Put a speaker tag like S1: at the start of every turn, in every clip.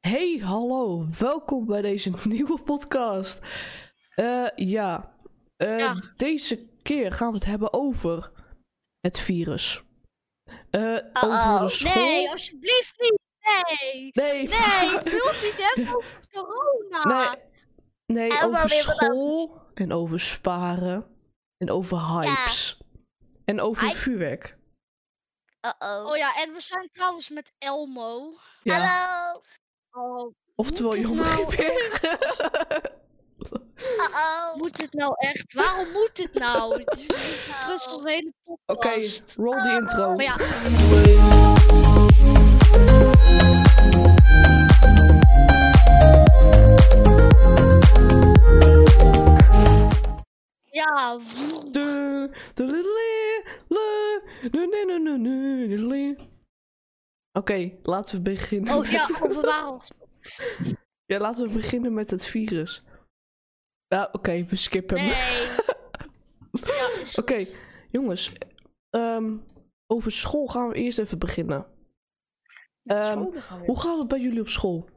S1: Hey, hallo. Welkom bij deze nieuwe podcast. Eh, ja. Eh,
S2: Ja.
S1: Deze keer gaan we het hebben over het virus. Eh, over de school.
S2: Oh, Nee, alsjeblieft niet. Nee.
S1: nee,
S2: Nee, ik wil het niet hebben over corona.
S1: nee, nee,
S2: En
S1: over
S2: dan weer wat
S1: school. En over sparen. En over hypes. En over
S3: Hype.
S1: vuurwerk.
S3: Uh-oh.
S2: Oh ja, en we zijn trouwens met Elmo.
S1: Ja.
S3: Hallo.
S2: Oh,
S1: Oftewel,
S2: moet het
S1: jongen.
S2: nou
S3: Uh-oh.
S2: moet dit nou echt? Waarom moet dit nou? Brussel hele
S1: Oké, Oh.
S2: podcast.
S1: roll de intro.
S2: Maar Ah, oh ja, ja. vroeg.
S1: Du- du- du- le- le- nu- nu- nu- nu- nu- nu- le. Oké, laten we beginnen.
S2: Oh ja,
S1: met-
S2: oh, we waren al
S1: ja, laten we beginnen met het virus. Ja, oké, we skippen. hem.
S2: Nee. Ja, is
S1: Oké,
S2: goed.
S1: jongens. ehm, over school gaan we eerst even beginnen. Ehm, hoe gaat het bij jullie op school?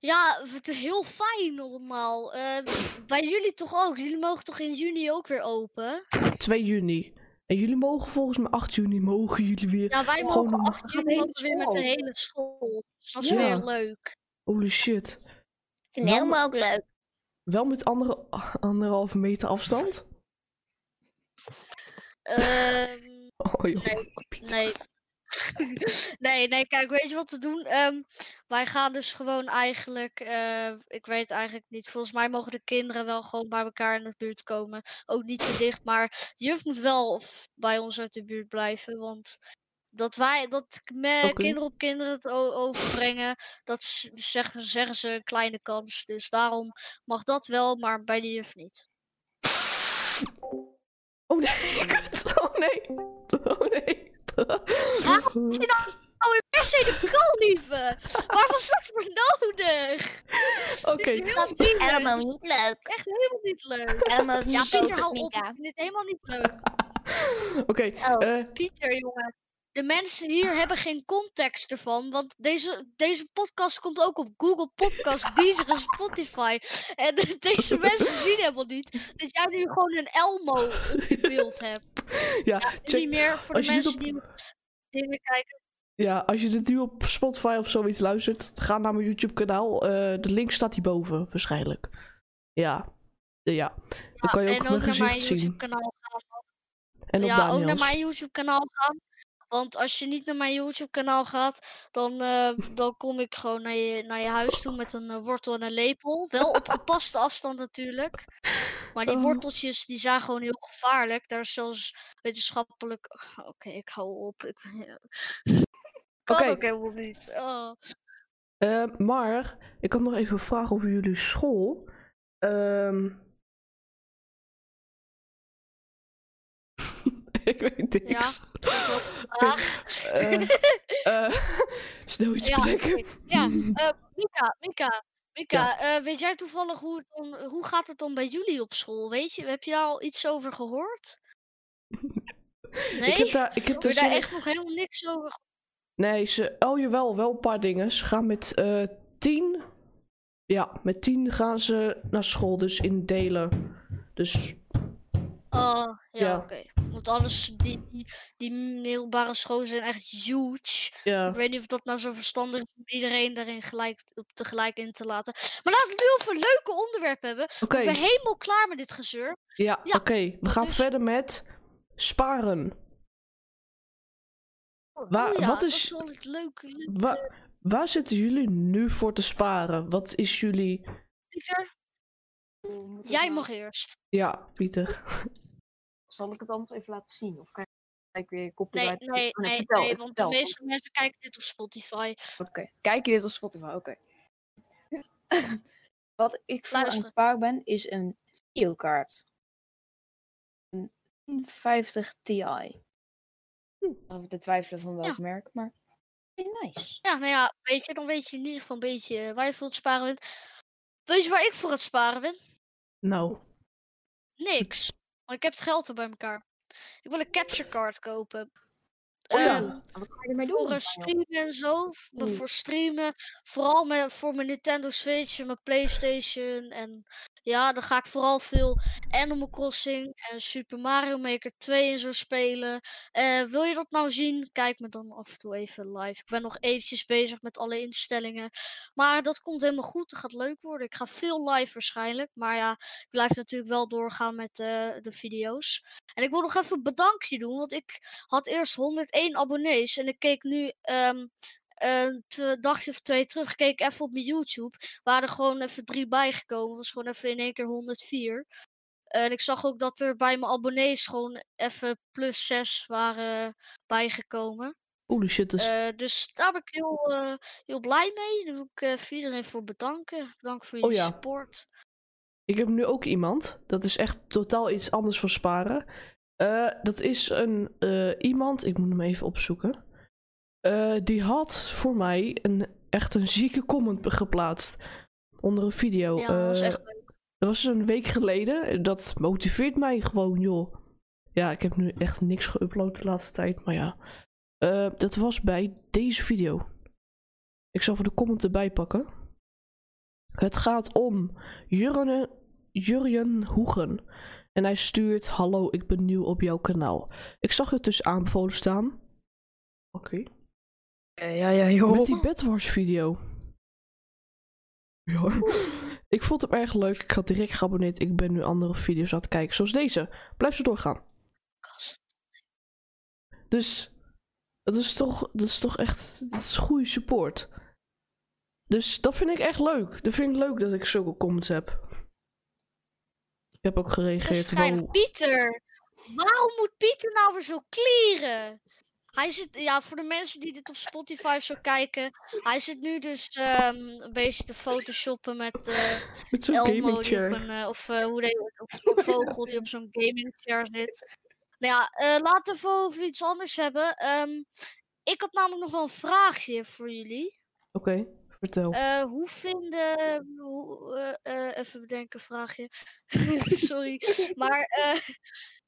S2: Ja, het is heel fijn allemaal. Eh, bij jullie toch ook? Jullie mogen toch in juni ook weer open?
S1: 2 juni. En jullie mogen volgens mij 8 juni mogen jullie weer.
S2: Ja, wij
S1: Gewoon
S2: mogen
S1: normaal.
S2: 8 juni ook weer met de hele school. Dus dat is
S1: Ja.
S2: weer leuk.
S1: Holy shit.
S3: vind
S2: nou
S3: Elmo ook leuk.
S1: Wel met andere, anderhalve meter afstand?
S2: Ehm,
S1: Oh joh.
S2: nee. nee, nee, kijk, weet je wat te doen? Ehm, wij gaan dus gewoon eigenlijk, eh, ik weet eigenlijk niet, volgens mij mogen de kinderen wel gewoon bij elkaar in de buurt komen. Ook niet te dicht, maar juf moet wel f- bij ons uit de buurt blijven, want dat wij, dat k- me,
S1: Oké.
S2: kinderen op kinderen het o- overbrengen, dat s- zeggen, zeggen ze een kleine kans. Dus daarom mag dat wel, maar bij de juf niet.
S1: Oh nee, kut. Oh nee. Oh nee.
S2: is dit Oh, in per se de koolnieven! Waar was dat voor nodig?
S1: Oké,
S2: Dit is heel
S3: Elmo
S2: zielig.
S3: niet leuk.
S2: Echt helemaal niet leuk.
S3: Elmo is niet
S2: Ja, Pieter,
S3: leuk,
S2: hou op. Ik
S3: Mika.
S2: vind dit helemaal niet leuk.
S1: oké. eh,
S2: Pieter, jongen. De mensen hier hebben geen context ervan, want deze, deze podcast komt ook op Google Podcast, Deezer en Spotify. En deze mensen zien helemaal niet dat jij nu gewoon een Elmo op je beeld hebt.
S1: ja,
S2: Check, niet
S1: check.
S2: meer voor
S1: als
S2: de
S1: je dit
S2: mensen
S1: op-
S2: die dingen kijken.
S1: Ja, als je dit nu op Spotify of zoiets luistert, ga naar mijn YouTube kanaal. Eh, de link staat hierboven waarschijnlijk. Ja. Eh, ja. Dan kan je ook
S2: en
S1: mijn
S2: ook naar mijn
S1: gezicht
S2: YouTube
S1: zien.
S2: kanaal
S1: En op
S2: ja, ook naar
S1: Daniels.
S2: mijn YouTube-kanaal gaan. Want als je niet naar mijn YouTube-kanaal gaat, dan, eh, dan kom ik gewoon naar je, naar je huis toe met een eh, wortel en een lepel. Wel op gepaste afstand natuurlijk. Maar die
S1: Oh.
S2: worteltjes die zijn gewoon heel gevaarlijk. Daar is zelfs wetenschappelijk. Oké, ik hou op. Ik...
S1: Oh,
S2: kan
S1: Oké.
S2: ook helemaal niet. Oh.
S1: Eh, maar, ik had nog even een vraag over jullie school. Ehm. ik weet niks.
S2: Ach,
S1: Eh, eh, snel iets
S2: Ah. Ja,
S1: bedenken.
S2: ik- ja. eh, Mika, Mika, Mika, eh, weet jij toevallig hoe, het dan, hoe gaat het dan bij jullie op school? Weet je, heb je daar al iets over gehoord?
S1: Ik heb
S2: Nee,
S1: daar, ik heb
S2: heb je
S1: daar
S2: daar
S1: zelf-
S2: echt nog helemaal niks over gehoord?
S1: Nee, ze. Oh jawel, wel een paar dingen. Ze gaan met eh tien. Ja, met tien gaan ze naar school, dus in delen. Dus
S2: Oh, ja,
S1: Ja.
S2: oké. Want anders, die, die, die middelbare scholen zijn echt huge.
S1: ja.
S2: Ik weet niet of dat nou zo verstandig is om iedereen daarin gelijk, op tegelijk in te laten. Maar laten we het nu over leuke onderwerpen hebben.
S1: Oké,
S2: Ik ben helemaal klaar met dit gezeur.
S1: ja,
S2: ja,
S1: oké. We gaan
S2: is-
S1: verder met sparen. Waar,
S2: oh ja,
S1: wat
S2: dat
S1: is,
S2: wel het leuke. leuke-
S1: wa- waar zitten jullie nu voor te sparen? Wat is jullie...
S2: Pieter, jij mag eerst.
S1: Ja, Pieter.
S4: nou- Zal ik het anders even laten zien? Of kan ik weer
S2: Nee,
S4: copyright?
S2: nee,
S4: Oh,
S2: nee,
S4: vertel,
S2: nee,
S4: ik
S2: want de
S4: vertel.
S2: meeste mensen kijken dit op Spotify.
S4: Oké, kijk je dit op Spotify? Oké. Wat ik voor aan het
S2: Luister.
S4: sparen ben, is een videokaart. Een 1050 Ti.
S2: Hm.
S4: Of te twijfelen van welk merk, maar heel nice.
S2: Ja, nou ja, weet je, dan weet je in ieder geval een beetje eh, waar je voor het sparen bent. Weet je waar ik voor het sparen ben?
S1: Nou,
S2: Niks. Maar ik heb het geld er bij elkaar. Ik wil een capture card kopen.
S4: Oh ja.
S2: Ehm,
S4: Wat ga je ermee doen?
S2: voor eh, streamen en zo. v- maar
S4: Mm.
S2: Voor streamen. Vooral met, voor mijn Nintendo Switch en mijn PlayStation. En ja, dan ga ik vooral veel Animal Crossing en Super Mario Maker 2 en zo spelen. Eh, wil je dat nou zien? Kijk me dan af en toe even live. Ik ben nog eventjes bezig met alle instellingen. Maar dat komt helemaal goed. Het gaat leuk worden. Ik ga veel live waarschijnlijk. Maar ja, ik blijf natuurlijk wel doorgaan met eh, de video's. En ik wil nog even een bedankje doen. Want ik had eerst 101 abonnees. En ik keek nu ehm, een tw- dagje of twee terug. Keek ik even op mijn YouTube. Waren er gewoon even drie bijgekomen. Was gewoon even in één keer 104. En ik zag ook dat er bij mijn abonnees gewoon even plus 6 waren bijgekomen.
S1: Holy shit, dus
S2: Eh, dus daar ben ik heel, eh, heel blij mee. Daar wil ik eh, voor iedereen voor bedanken. Bedankt voor jullie
S1: Oh ja.
S2: support.
S1: Ik heb nu ook iemand. Dat is echt totaal iets anders van sparen. Eh, dat is een eh, iemand. Ik moet hem even opzoeken. Eh, die had voor mij een, echt een zieke comment geplaatst. Onder een video.
S2: ja, dat was
S1: Eh,
S2: echt leuk.
S1: dat was een week geleden. Dat motiveert mij gewoon, joh. Ja, ik heb nu echt niks geüpload de laatste tijd, maar ja. Eh, dat was bij deze video. Ik zal voor de comment erbij pakken. Het gaat om Jurgen, Jurjen Hoegen. En hij stuurt: Hallo, ik ben nieuw op jouw kanaal. Ik zag het dus aanbevolen staan. Oké.
S4: ja, ja, joh.
S1: Met die Bedwars video. Ja. ik vond hem erg leuk. Ik had direct geabonneerd. Ik ben nu andere video's aan het kijken. Zoals deze. Blijf zo doorgaan.
S2: Kast.
S1: Dus dat is toch, dat is toch echt dat is goede support. Dus dat vind ik echt leuk. Dat vind ik leuk dat ik zulke comments heb. Ik heb ook
S2: Dat is
S1: gereageerd.
S2: geinig.
S1: wow.
S2: Pieter, waarom moet Pieter nou weer zo kleren? Hij zit, ja, voor de mensen die dit op Spotify zo kijken, hij zit nu dus ehm, een beetje te photoshoppen met eh,
S1: Met zo'n
S2: Elmo,
S1: gaming
S2: die op
S1: chair.
S2: een, eh, of eh, hoe heet het, of zo'n vogel die op zo'n gaming chair zit. Nou ja, eh, laten we even over iets anders hebben. Ehm, ik had namelijk nog wel een vraagje voor jullie.
S1: Oké, vertel.
S2: Eh, hoe vinden. Hoe, eh, eh, even bedenken, vraagje. Sorry. maar eh,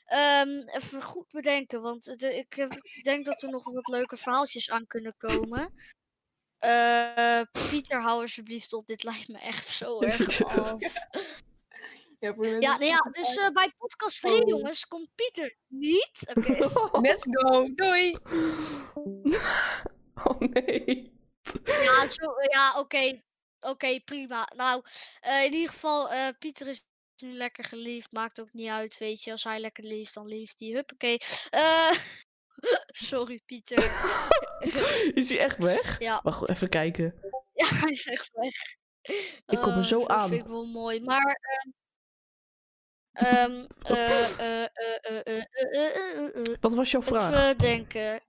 S2: ehm, even goed bedenken, want de- ik heb- denk dat er nog wat leuke verhaaltjes aan kunnen komen. Eh, Pieter, hou alsjeblieft op. Dit lijkt me echt zo erg af.
S4: Ja, probeer
S2: Ja,
S4: het.
S2: nou ja, dus eh, bij podcast 3, jongens, komt Pieter niet. Oké.
S4: Let's go, doei!
S1: oh nee.
S2: Ja, zo- ja oké. Oké, prima. Nou, eh, in ieder geval, eh, Pieter is nu lekker geliefd. Maakt ook niet uit, weet je. Als hij lekker liefst, dan liefst hij. Huppakee. Eh, sorry, Pieter.
S1: Is hij echt weg?
S2: Ja.
S1: Wacht, even kijken.
S2: Ja, hij is echt weg.
S1: Ik kom er
S2: Eh,
S1: zo
S2: dat
S1: aan.
S2: vind ik wel mooi. Maar... ehm, ehm, eh, eh, eh, eh, eh, eh, eh, eh, eh,
S1: Wat was jouw vraag?
S2: Even denken. Eh,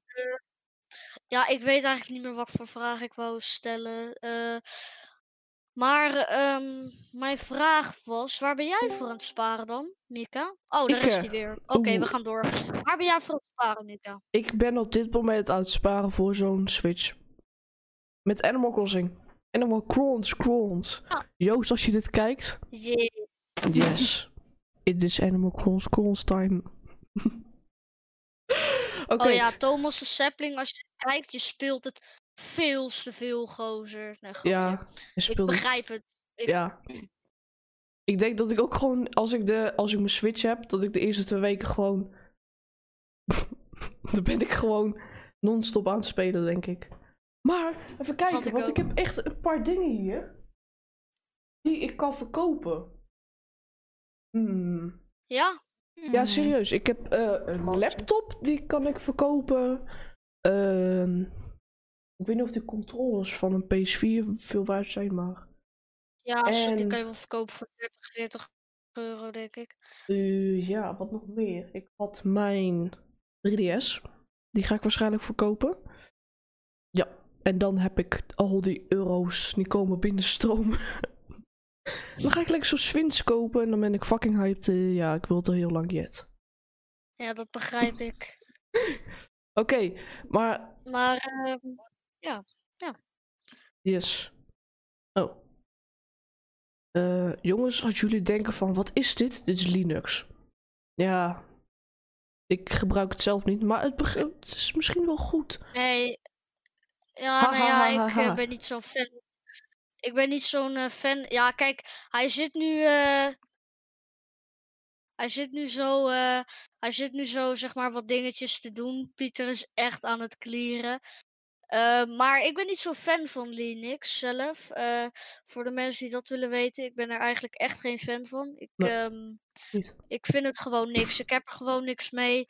S2: ja, ik weet eigenlijk niet meer wat voor vraag ik wou stellen. Eh, maar ehm, mijn vraag was, waar ben jij voor aan het sparen dan, Mika? Oh, daar
S1: Ik,
S2: is
S1: eh,
S2: die weer. Oké, we
S1: oeh.
S2: gaan door. Waar ben jij voor aan het sparen, Mika?
S1: Ik ben op dit moment aan het sparen voor zo'n Switch. Met Animal Crossing. Animal Crons, Crons.
S2: Ja.
S1: Joost, als je dit kijkt.
S2: Jee.
S1: Yes. It is Animal Crons, Crons time. Oké.
S2: Oh ja, Thomas de Sapling, als je kijkt, je speelt het veel te veel, gozer. Nee, grapje.
S1: Ja, je
S2: ik
S1: speelde-
S2: begrijp het. Ik-
S1: Ja. Ik denk dat ik ook gewoon, als ik, de, als ik mijn Switch heb, dat ik de eerste twee weken gewoon... dan ben ik gewoon non-stop aan het spelen, denk ik. Maar, even kijken,
S2: ik
S1: want
S2: ook.
S1: ik heb echt een paar dingen hier. Die ik kan verkopen. Hmm.
S2: ja?
S3: Oh.
S2: Hmm.
S1: Ja, serieus. Ik heb eh, een laptop, die kan ik verkopen. Ehm, ik weet niet of de controllers van een PS4 veel waard zijn, maar...
S2: Ja, zo, die
S1: En-
S2: kan je wel verkopen voor 30, 40 euro, denk ik.
S1: Eh, ja, wat nog meer? Ik had mijn 3DS. Die ga ik waarschijnlijk verkopen. Ja, en dan heb ik al die euro's die komen binnenstromen. dan ga ik lekker zo'n Swins kopen en dan ben ik fucking hyped. Eh, ja, ik wil het al heel lang yet.
S2: Ja, dat begrijp ik.
S1: Oké, maar...
S2: Maar ehm,
S1: Yes. Oh. Eh, jongens, als jullie denken van, wat is dit? Dit is Linux. Ja, Ik gebruik het zelf niet, maar het, beg- het is misschien wel goed.
S2: Nee. Ja,
S1: Ha,
S2: nou
S1: ha,
S2: ja,
S1: ha, ha,
S2: ik eh,
S1: ha.
S2: ben niet zo'n fan. Ik ben niet zo'n eh, fan. Ja, kijk, hij zit nu. eh, hij zit nu zo. eh, hij zit nu zo, zeg maar, wat dingetjes te doen. Pieter is echt aan het clearen. Eh, maar ik ben niet zo'n fan van Linux zelf. Eh, voor de mensen die dat willen weten, ik ben er eigenlijk echt geen fan van. Ik,
S1: Nee,
S2: ehm,
S1: niet.
S2: ik vind het gewoon niks. Ik heb er gewoon niks mee.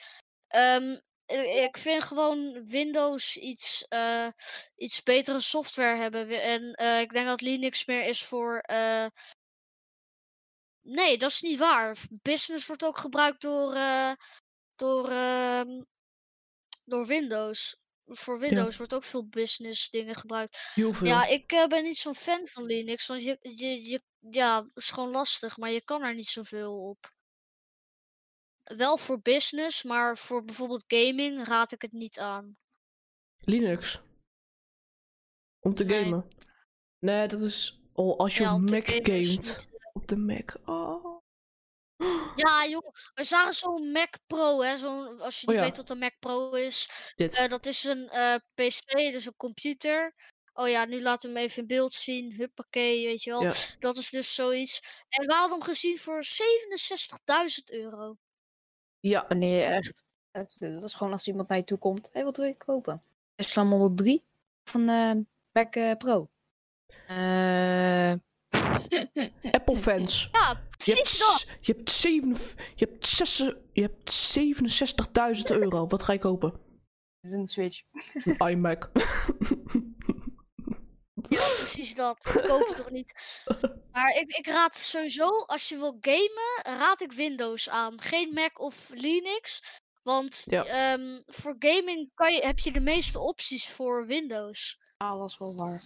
S2: Ehm, eh, ik vind gewoon Windows iets, eh, iets betere software hebben. We- En eh, ik denk dat Linux meer is voor. eh, Nee, dat is niet waar. V- Business wordt ook gebruikt door, eh, door, ehm, door Windows. Voor Windows wordt ook veel business dingen gebruikt.
S1: Heel veel.
S2: Ja, ik eh, ben niet zo'n fan van Linux, want je, je, je, ja, het is gewoon lastig, maar je kan er niet zoveel op. Wel voor business, maar voor bijvoorbeeld gaming raad ik het niet aan.
S1: Linux. Om te
S2: Nee.
S1: gamen. Nee, dat is. Oh, als je
S2: ja,
S1: op
S2: om te
S1: Mac
S2: gamen is
S1: gamet.
S2: niet-
S1: Op de Mac. Oh.
S2: Ja, joh, we zagen zo'n Mac Pro, hè? Zo'n, als je
S1: Oh
S2: niet
S1: ja.
S2: weet wat een Mac Pro is,
S1: Dit.
S2: Eh, dat is een eh, PC, dus een computer. Oh ja, nu laten we hem even in beeld zien. Huppakee, weet je wel.
S1: Ja.
S2: Dat is dus zoiets. En we hadden hem gezien voor 67.000 euro.
S1: ja,
S4: Nee, echt. Het- dat is gewoon als iemand naar je toe komt. Hé, wat wil je kopen? Tesla Model 3 van eh Mac eh, Pro. Eh,
S1: Apple fans.
S2: Ja,
S1: Je
S2: eh, precies
S1: hebt,
S2: dat.
S1: s- je hebt, zeven, je hebt, zes, je hebt 67.000 euro. Wat ga je kopen?
S4: het is een Switch.
S1: Een iMac.
S2: Ja, precies dat. Dat koop je toch niet. Maar ik, ik raad sowieso, als je wil gamen, raad ik Windows aan. Geen Mac of Linux. Want
S1: Ja.
S2: ehm, voor gaming kan je, heb je de meeste opties voor Windows.
S4: Ah, dat is wel waar.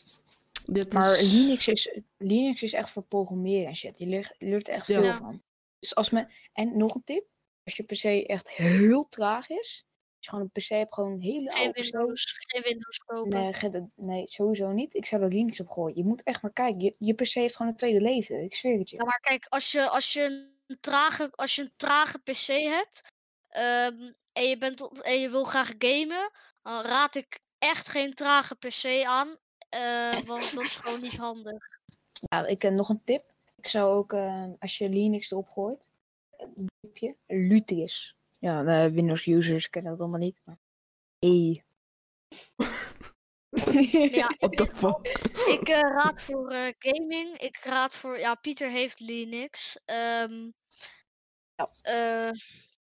S1: Dit
S4: Maar
S1: is...
S4: Linux, is, Linux is echt voor programmeren en shit. Die leert, leert er echt
S1: Ja.
S4: veel
S2: Ja.
S4: van. Dus als men, en nog een tip. Als je PC echt heel traag is. Als je gewoon een PC hebt, gewoon een hele
S2: Geen
S4: oude PC.
S2: Windows, geen Windows kopen.
S4: Nee, ge- dat- nee, sowieso niet. Ik zou er Linux op gooien. Je moet echt maar kijken. Je, je PC heeft gewoon een tweede leven. Ik zweer het je.
S2: Ja, maar kijk, als je, als je, een, trage, als je een trage PC hebt ehm, en, je bent op, en je wil graag gamen, dan raad ik echt geen trage PC aan. eh, want dat is gewoon niet handig.
S4: Ja, Nou, ik heb nog een tip. Ik zou ook, eh, als je Linux erop gooit, een tipje, Luteus. Ja, eh, Windows users kennen dat allemaal niet. Maar... E. Hey.
S2: Ja,
S1: What the fuck?
S2: ik eh, raad voor eh, gaming. Ik raad voor. Ja, Pieter heeft Linux. ehm,
S4: Ja.
S2: eh,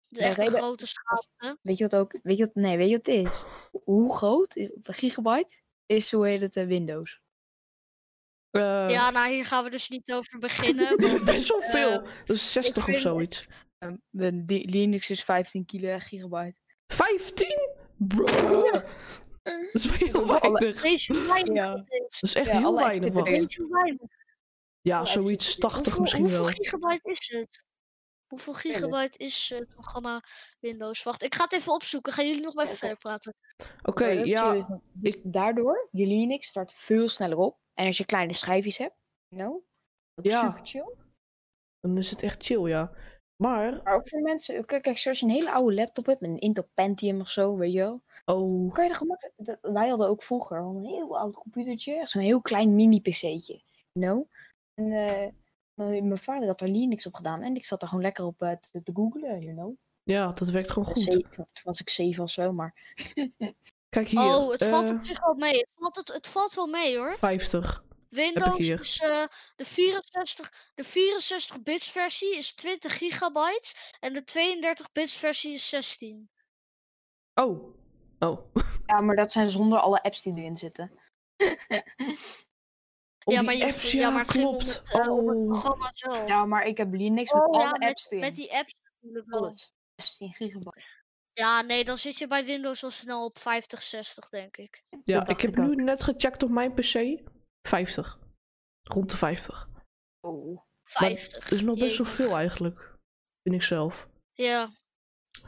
S2: de
S4: Ja,
S2: echte
S4: reden-
S2: grote schaamte.
S4: Weet je wat ook? Weet je wat, nee, weet je wat het is? Hoe groot is op een gigabyte is hoe heet het eh, Windows? Oh.
S1: Eh,
S2: Ja, nou hier gaan we dus niet over beginnen. want
S1: Best wel
S2: eh,
S1: veel. Dat is 60 of
S2: vind-
S1: zoiets.
S4: Ehm, de- die- Linux is 15 kilo eh, gigabyte.
S1: 15? Bro. Dat is heel
S4: Alle-
S1: weinig. Dat
S2: Weet je hoe weinig
S4: Ja.
S2: het is?
S1: is echt
S4: Ja,
S1: heel
S4: alle
S1: weinig.
S4: echte
S1: Wacht.
S4: dingen.
S2: Weet je hoe weinig?
S1: Ja,
S4: alle
S1: zoiets.
S4: echte
S1: 80
S2: Hoeveel,
S1: misschien
S2: hoeveel
S1: wel.
S2: gigabyte is het? Hoeveel
S4: Eerlijk.
S2: gigabyte is eh, het programma Windows? Wacht, ik ga het even opzoeken. Gaan jullie nog maar even
S4: Oké.
S2: verder praten?
S1: Oké,
S4: Eh, dat
S1: ja.
S4: is- dus daardoor, je Linux start veel sneller op. En als je kleine schijfjes hebt, nou,
S1: Ja.
S4: super chill.
S1: Dan is het echt chill, ja. Maar,
S4: Maar ook voor mensen, kijk, kijk, zoals je een hele oude laptop hebt, met een Intel Pentium of zo, weet je wel.
S1: oh,
S4: Kan je er gemakkelijk, dat- wij hadden ook vroeger al een heel oud computertje, echt zo'n heel klein mini-pc'tje. Nou, en eh, mijn mijn vader had er Linux op gedaan en ik zat er gewoon lekker op eh, te, te googlen, you know.
S1: ja, dat werkt gewoon goed.
S4: Zeven- Toen was ik zeven of zo, maar
S1: Kijk hier.
S2: oh, het valt
S1: eh,
S2: op zich wel mee. Het valt, het, het valt wel mee hoor.
S1: 50.
S2: Windows
S1: hier.
S2: is eh, de 64, de 64 bits versie is 20 gigabyte en de 32 bits versie is 16.
S1: Oh. Oh.
S4: ja, maar dat zijn zonder alle apps die erin zitten. Oh,
S1: Om
S2: ja,
S1: die
S2: maar je-
S1: apps,
S2: ja, maar het ging om
S1: klopt.
S2: het, eh, om het
S1: oh.
S2: programma zelf.
S4: Ja, maar ik heb Linux
S2: Oh,
S4: met alle
S2: ja,
S4: apps
S2: met,
S4: erin.
S2: met die apps natuurlijk wel.
S4: Alles. 16 gigabyte.
S2: Ja, nee, dan zit je bij Windows al snel op 50, 60 denk ik.
S1: Ja,
S4: dacht
S1: ik heb
S4: ik ook.
S1: nu net gecheckt op mijn PC. 50. Rond de 50.
S4: Oh.
S1: Maar
S2: 50.
S1: Dat is nog best wel
S2: Jemig.
S1: veel eigenlijk. Vind ik zelf.
S2: Ja.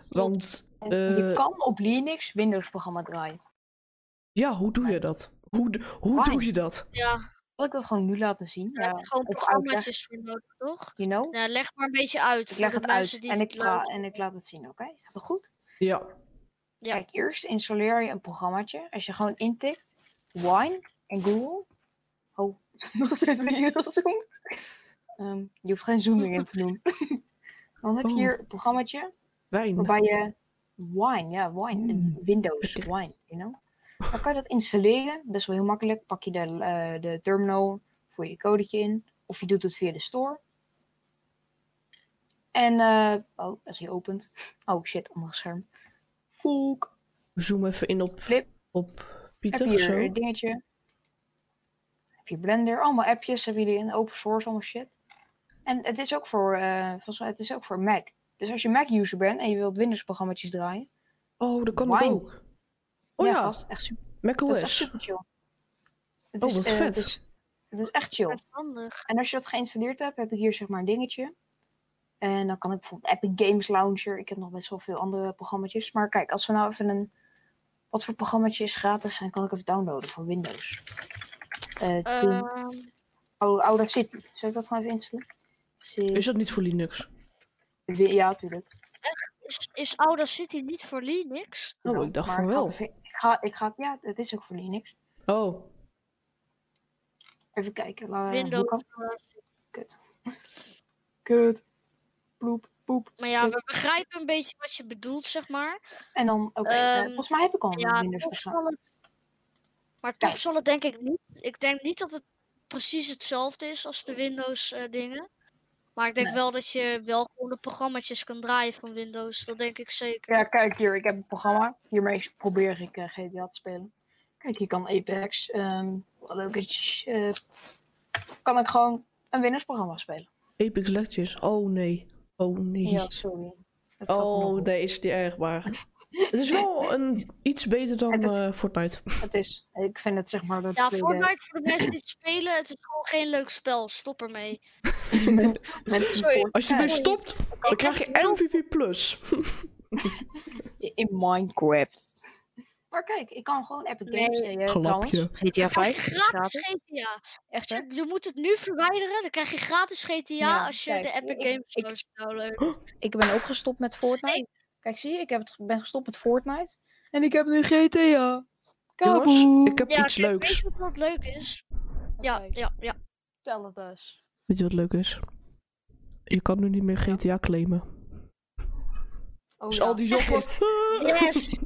S1: Want,
S4: En
S1: eh,
S4: je kan op Linux Windows-programma draaien.
S1: ja, hoe doe je dat? Hoe, d- hoe
S4: Fine.
S1: doe je dat?
S2: Ja,
S4: Wil ik dat gewoon nu laten zien?
S2: daar
S4: Ja,
S2: heb je gewoon
S4: of
S2: programma's voor nodig, toch?
S4: you know?
S2: Nou, leg maar een beetje uit
S4: Dus Ik
S2: voor
S4: leg
S2: de
S4: het
S2: mensen
S4: uit
S2: die
S4: en
S2: het
S4: ik, la-
S2: luisteren.
S4: en ik laat het zien, oké? Is dat goed?
S1: Ja.
S2: Ja.
S4: Kijk, eerst installeer je een programmaatje. Als je gewoon intikt, Wine en Google. Oh, het is nog steeds weer heel zoom. Ehm, je hoeft geen zooming in te doen. Dan heb je
S1: Oh.
S4: hier een programmaatje
S1: Wijn.
S4: waarbij je eh, Wine, ja, Wine, in
S1: Mm.
S4: Windows,
S1: Lekker.
S4: Wine, you know. Dan kan je dat installeren, best wel heel makkelijk. Pak je de, eh, de terminal, voer je je codetje in, of je doet het via de store. En, eh, oh, als je opent. Oh shit, ander scherm. Volk.
S1: Zoom even in op,
S4: Flip.
S1: op
S4: Heb
S1: Pieter
S4: je
S1: of
S4: hier
S1: zo.
S4: een dingetje. Heb je Blender. Allemaal appjes hebben jullie in open source, allemaal shit. En het is ook voor, eh, volgens mij, het is ook voor Mac. Dus als je Mac-user bent en je wilt Windows-programma's draaien.
S1: Oh, dat kan het
S4: Wine.
S1: ook. Oh ja,
S4: gast, echt super, dat is echt
S1: macOS.
S4: super chill. Het
S1: Oh, wat
S4: eh,
S1: vet.
S4: Het is, het is echt chill.
S2: Dat is handig.
S4: En als je dat geïnstalleerd hebt, heb ik hier zeg maar een dingetje. En dan kan ik bijvoorbeeld Epic Games Launcher. Ik heb nog best wel veel andere programma's. Maar kijk, als we nou even een... Wat voor programmaatje is gratis? Dan kan ik even downloaden voor Windows. Eh Team-
S2: Ehm,
S4: Oh, Audacity. Zal ik dat gewoon even instellen? Zit-
S1: Is Oh, dat niet voor Linux?
S4: Wi- Ja, natuurlijk.
S2: is, is Audacity niet voor Linux?
S1: Oh, ik dacht
S4: maar
S1: van
S4: ik ga
S1: wel.
S4: het even- Ik ga, ik ga, ja, het is ook voor Linux.
S1: Oh,
S4: Even kijken. la- hoe
S2: Windows.
S4: kan- Kut. Bloep, poep.
S2: Maar ja, we begrijpen een beetje wat je bedoelt, zeg maar.
S4: En dan, oké. eh,
S2: Ehm,
S4: volgens mij heb ik al een
S2: Ja,
S4: Windows
S2: toch
S4: bestaan.
S2: zal het... Maar toch
S4: Kijk.
S2: zal het denk ik niet... Ik denk niet dat het precies hetzelfde is als de Windows eh, dingen. Maar ik denk wel dat je wel gewoon de programma's kan draaien van Windows. Dat denk ik zeker.
S4: Ja, kijk hier, ik heb een programma. Hiermee probeer ik eh, GTA te spelen. Kijk, hier kan Apex, ehm wat ook is, eh, kan ik gewoon een winnersprogramma spelen.
S1: Apex Legends. Oh nee. Oh nee.
S4: Ja, sorry. Het zat er nog
S1: Oh,
S4: op.
S1: nee, is die erg maar. Het is wel een, iets beter dan
S4: Het is-
S1: eh, Fortnite.
S4: Het is, ik vind het zeg maar dat
S2: Ja,
S4: tweede-
S2: Fortnite voor de mensen die het spelen, het is gewoon geen leuk spel. Stop ermee.
S4: eh, mensen die
S2: Sorry.
S4: voor-
S1: Als je dus ermee
S2: Ja.
S1: stopt, dan
S4: Oh,
S2: heb
S1: krijg je
S2: het wel-
S1: MVP+. Plus.
S4: in Minecraft. Maar kijk, ik kan gewoon Epic
S2: Nee.
S4: Games eh,
S1: Glapje.
S4: trouwens. GTA
S2: Dan krijg
S4: 5
S2: je
S4: is
S2: gratis
S4: gratis.
S2: GTA.
S4: Echt, hè?
S2: Je moet het nu verwijderen, dan krijg je gratis GTA
S4: Ja,
S2: als je
S4: kijk,
S2: de Epic
S4: ik-
S2: Games
S4: ik-
S2: Store downloadt.
S4: Ik ben ook gestopt met Fortnite.
S2: Nee.
S4: Kijk, zie je, ik heb het, ben gestopt met Fortnite. En ik heb nu GTA. Kaboom.
S1: Jongens, ik heb
S2: Ja,
S1: iets
S2: kijk, Weet
S1: leuks.
S2: je wat wat leuk is? Ja,
S4: Oké,
S2: ja, ja.
S4: Vertel het dus.
S1: Weet je wat leuk is? Je kan nu niet meer GTA claimen.
S4: Oh,
S1: Dus
S4: ja.
S1: al die joppen...
S2: Yes!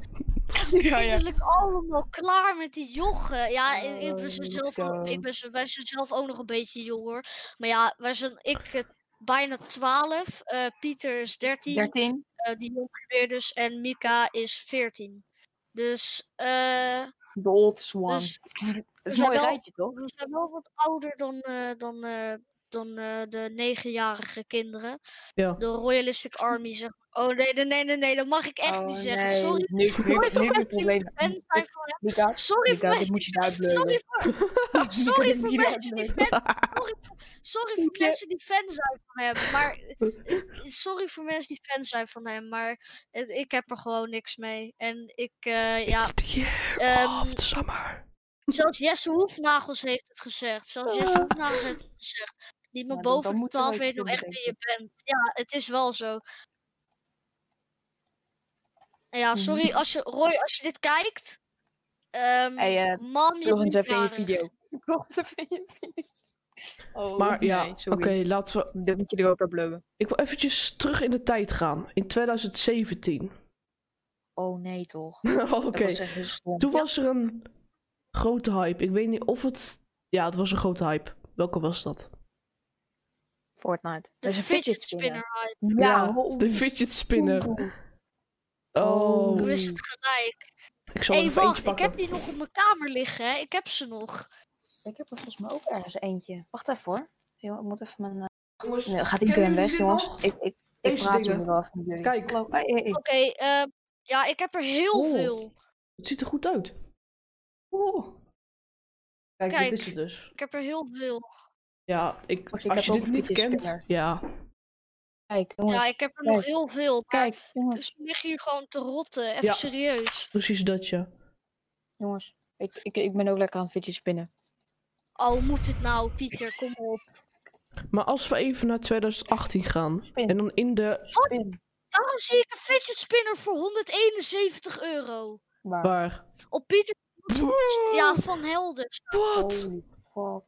S1: ja, ja.
S2: Eindelijk allemaal klaar met die jochen. Ja, ik, ik ben ze
S4: Oh,
S2: zelf, ook-
S4: zo.
S2: ik ben, ze- wij zijn zelf ook nog een beetje jong hoor. Maar ja, wij zijn, ik eh, bijna 12, eh, Pieter is 13,
S4: 13.
S2: eh, die jong weer dus, en Mika is 14. Dus, eh,
S4: The Old Swan.
S2: dus
S4: het is
S2: zijn
S4: een mooi
S2: wel-
S4: rijtje, toch?
S2: we zijn wel wat ouder dan, eh, dan, eh, dan eh, de negenjarige kinderen.
S1: Ja.
S2: De Royalistic Army zeg maar. Oh nee, nee, nee, nee, nee, dat mag ik
S4: Oh,
S2: echt niet zeggen. Sorry.
S4: Nu, nu,
S2: Sorry
S4: nu,
S2: voor
S4: nu
S2: mensen
S4: het
S2: die
S4: probleem.
S2: fan zijn van
S4: Mika,
S2: Sorry voor
S4: Mika, dit
S2: mensen.
S4: moet je eruit
S2: Sorry
S4: bleuren.
S2: voor, sorry voor mensen die fan. Sorry voor, sorry voor
S4: Dank je.
S2: mensen die fan zijn van hem. Maar eh, sorry voor mensen die fan zijn van hem. Maar eh, ik heb er gewoon niks mee. En ik, eh, ja,
S1: It's the year
S2: ehm,
S1: of the summer.
S2: zelfs Jesse Hoefnagels heeft het gezegd. Zelfs Jesse Hoefnagels heeft het gezegd. Niemand
S4: Ah. Ja, dan-
S2: boven
S4: dan
S2: de
S4: moeten wij
S2: 12
S4: het
S2: weet nog
S4: vinden,
S2: echt wie je
S4: denk
S2: bent. Ja, het is wel zo.
S4: Mhm.
S2: Ja, sorry als je, Roy, als je dit kijkt. Ehm
S4: Hey, eh,
S2: mam, je
S4: Nog
S2: bent
S4: eens even in je
S2: jarig.
S4: video. Nog eens even in je video. Oh,
S1: Maar ja,
S4: nee,
S1: oké,
S4: sorry.
S1: laten we...
S4: Dat moet je er ook uit bleuren.
S1: Ik wil eventjes terug in de tijd gaan. In 2017.
S4: Oh nee, toch.
S1: Oké.
S4: Dat was echt heel stom.
S1: Toen was er een grote hype. Ik weet niet of het... Ja, het was een grote hype. Welke was dat?
S4: Fortnite.
S2: De fidget spinner. hype.
S4: Ja,
S1: de fidget spinner. Oh,
S4: Oeh.
S2: Ik wist het gelijk.
S1: ik zal
S2: Hé,
S1: Oh. er even eentje
S2: wacht, ik
S1: pakken.
S2: heb die nog op mijn kamer liggen, hè? Ik heb ze nog.
S4: Ik heb er volgens mij ook ergens eentje. Wacht even hoor. Yo, ik moet even mijn... eh,
S1: Jongens,
S4: Nee, gaat
S1: kennen
S4: iedereen
S1: jullie
S4: weg,
S1: dit
S4: jongens?
S1: nog?
S4: Ik, ik, ik
S1: Deze
S4: praat
S1: dingen.
S4: nu wel even met jullie.
S1: Kijk.
S4: Hallo, hey, hey, hey.
S2: Oké, ehm, ja, ik heb er heel
S1: Oh.
S2: veel.
S1: Het ziet er goed uit. Oh. Kijk,
S2: Kijk.
S1: dit is het dus.
S2: Ik heb er heel veel.
S1: Ja, ik,
S4: Wacht, ik
S1: als
S4: heb
S1: je
S4: ook
S1: dit
S4: een
S1: niet
S4: fidget
S1: kent...
S4: spinner.
S1: Ja,
S4: Kijk, jongens.
S2: Ja, ik heb er nog
S4: kijk.
S2: heel veel. maar
S4: Kijk, jongens.
S2: Ze liggen hier gewoon te rotten. Even
S1: Ja.
S2: serieus.
S1: precies dat, ja.
S4: jongens. Ik, ik, ik ben ook lekker aan fidget spinnen.
S2: Oh, hoe moet het nou, Pieter? Kom op.
S1: Maar als we even naar 2018 gaan...
S4: Spin.
S1: En dan in de...
S4: Spin.
S2: Daarom zie ik een fidget spinner voor 171 euro.
S4: Maar,
S1: Waar?
S2: Op Pieter ja,
S1: Wat?
S2: van Helden.
S1: Wat?
S4: holy fuck.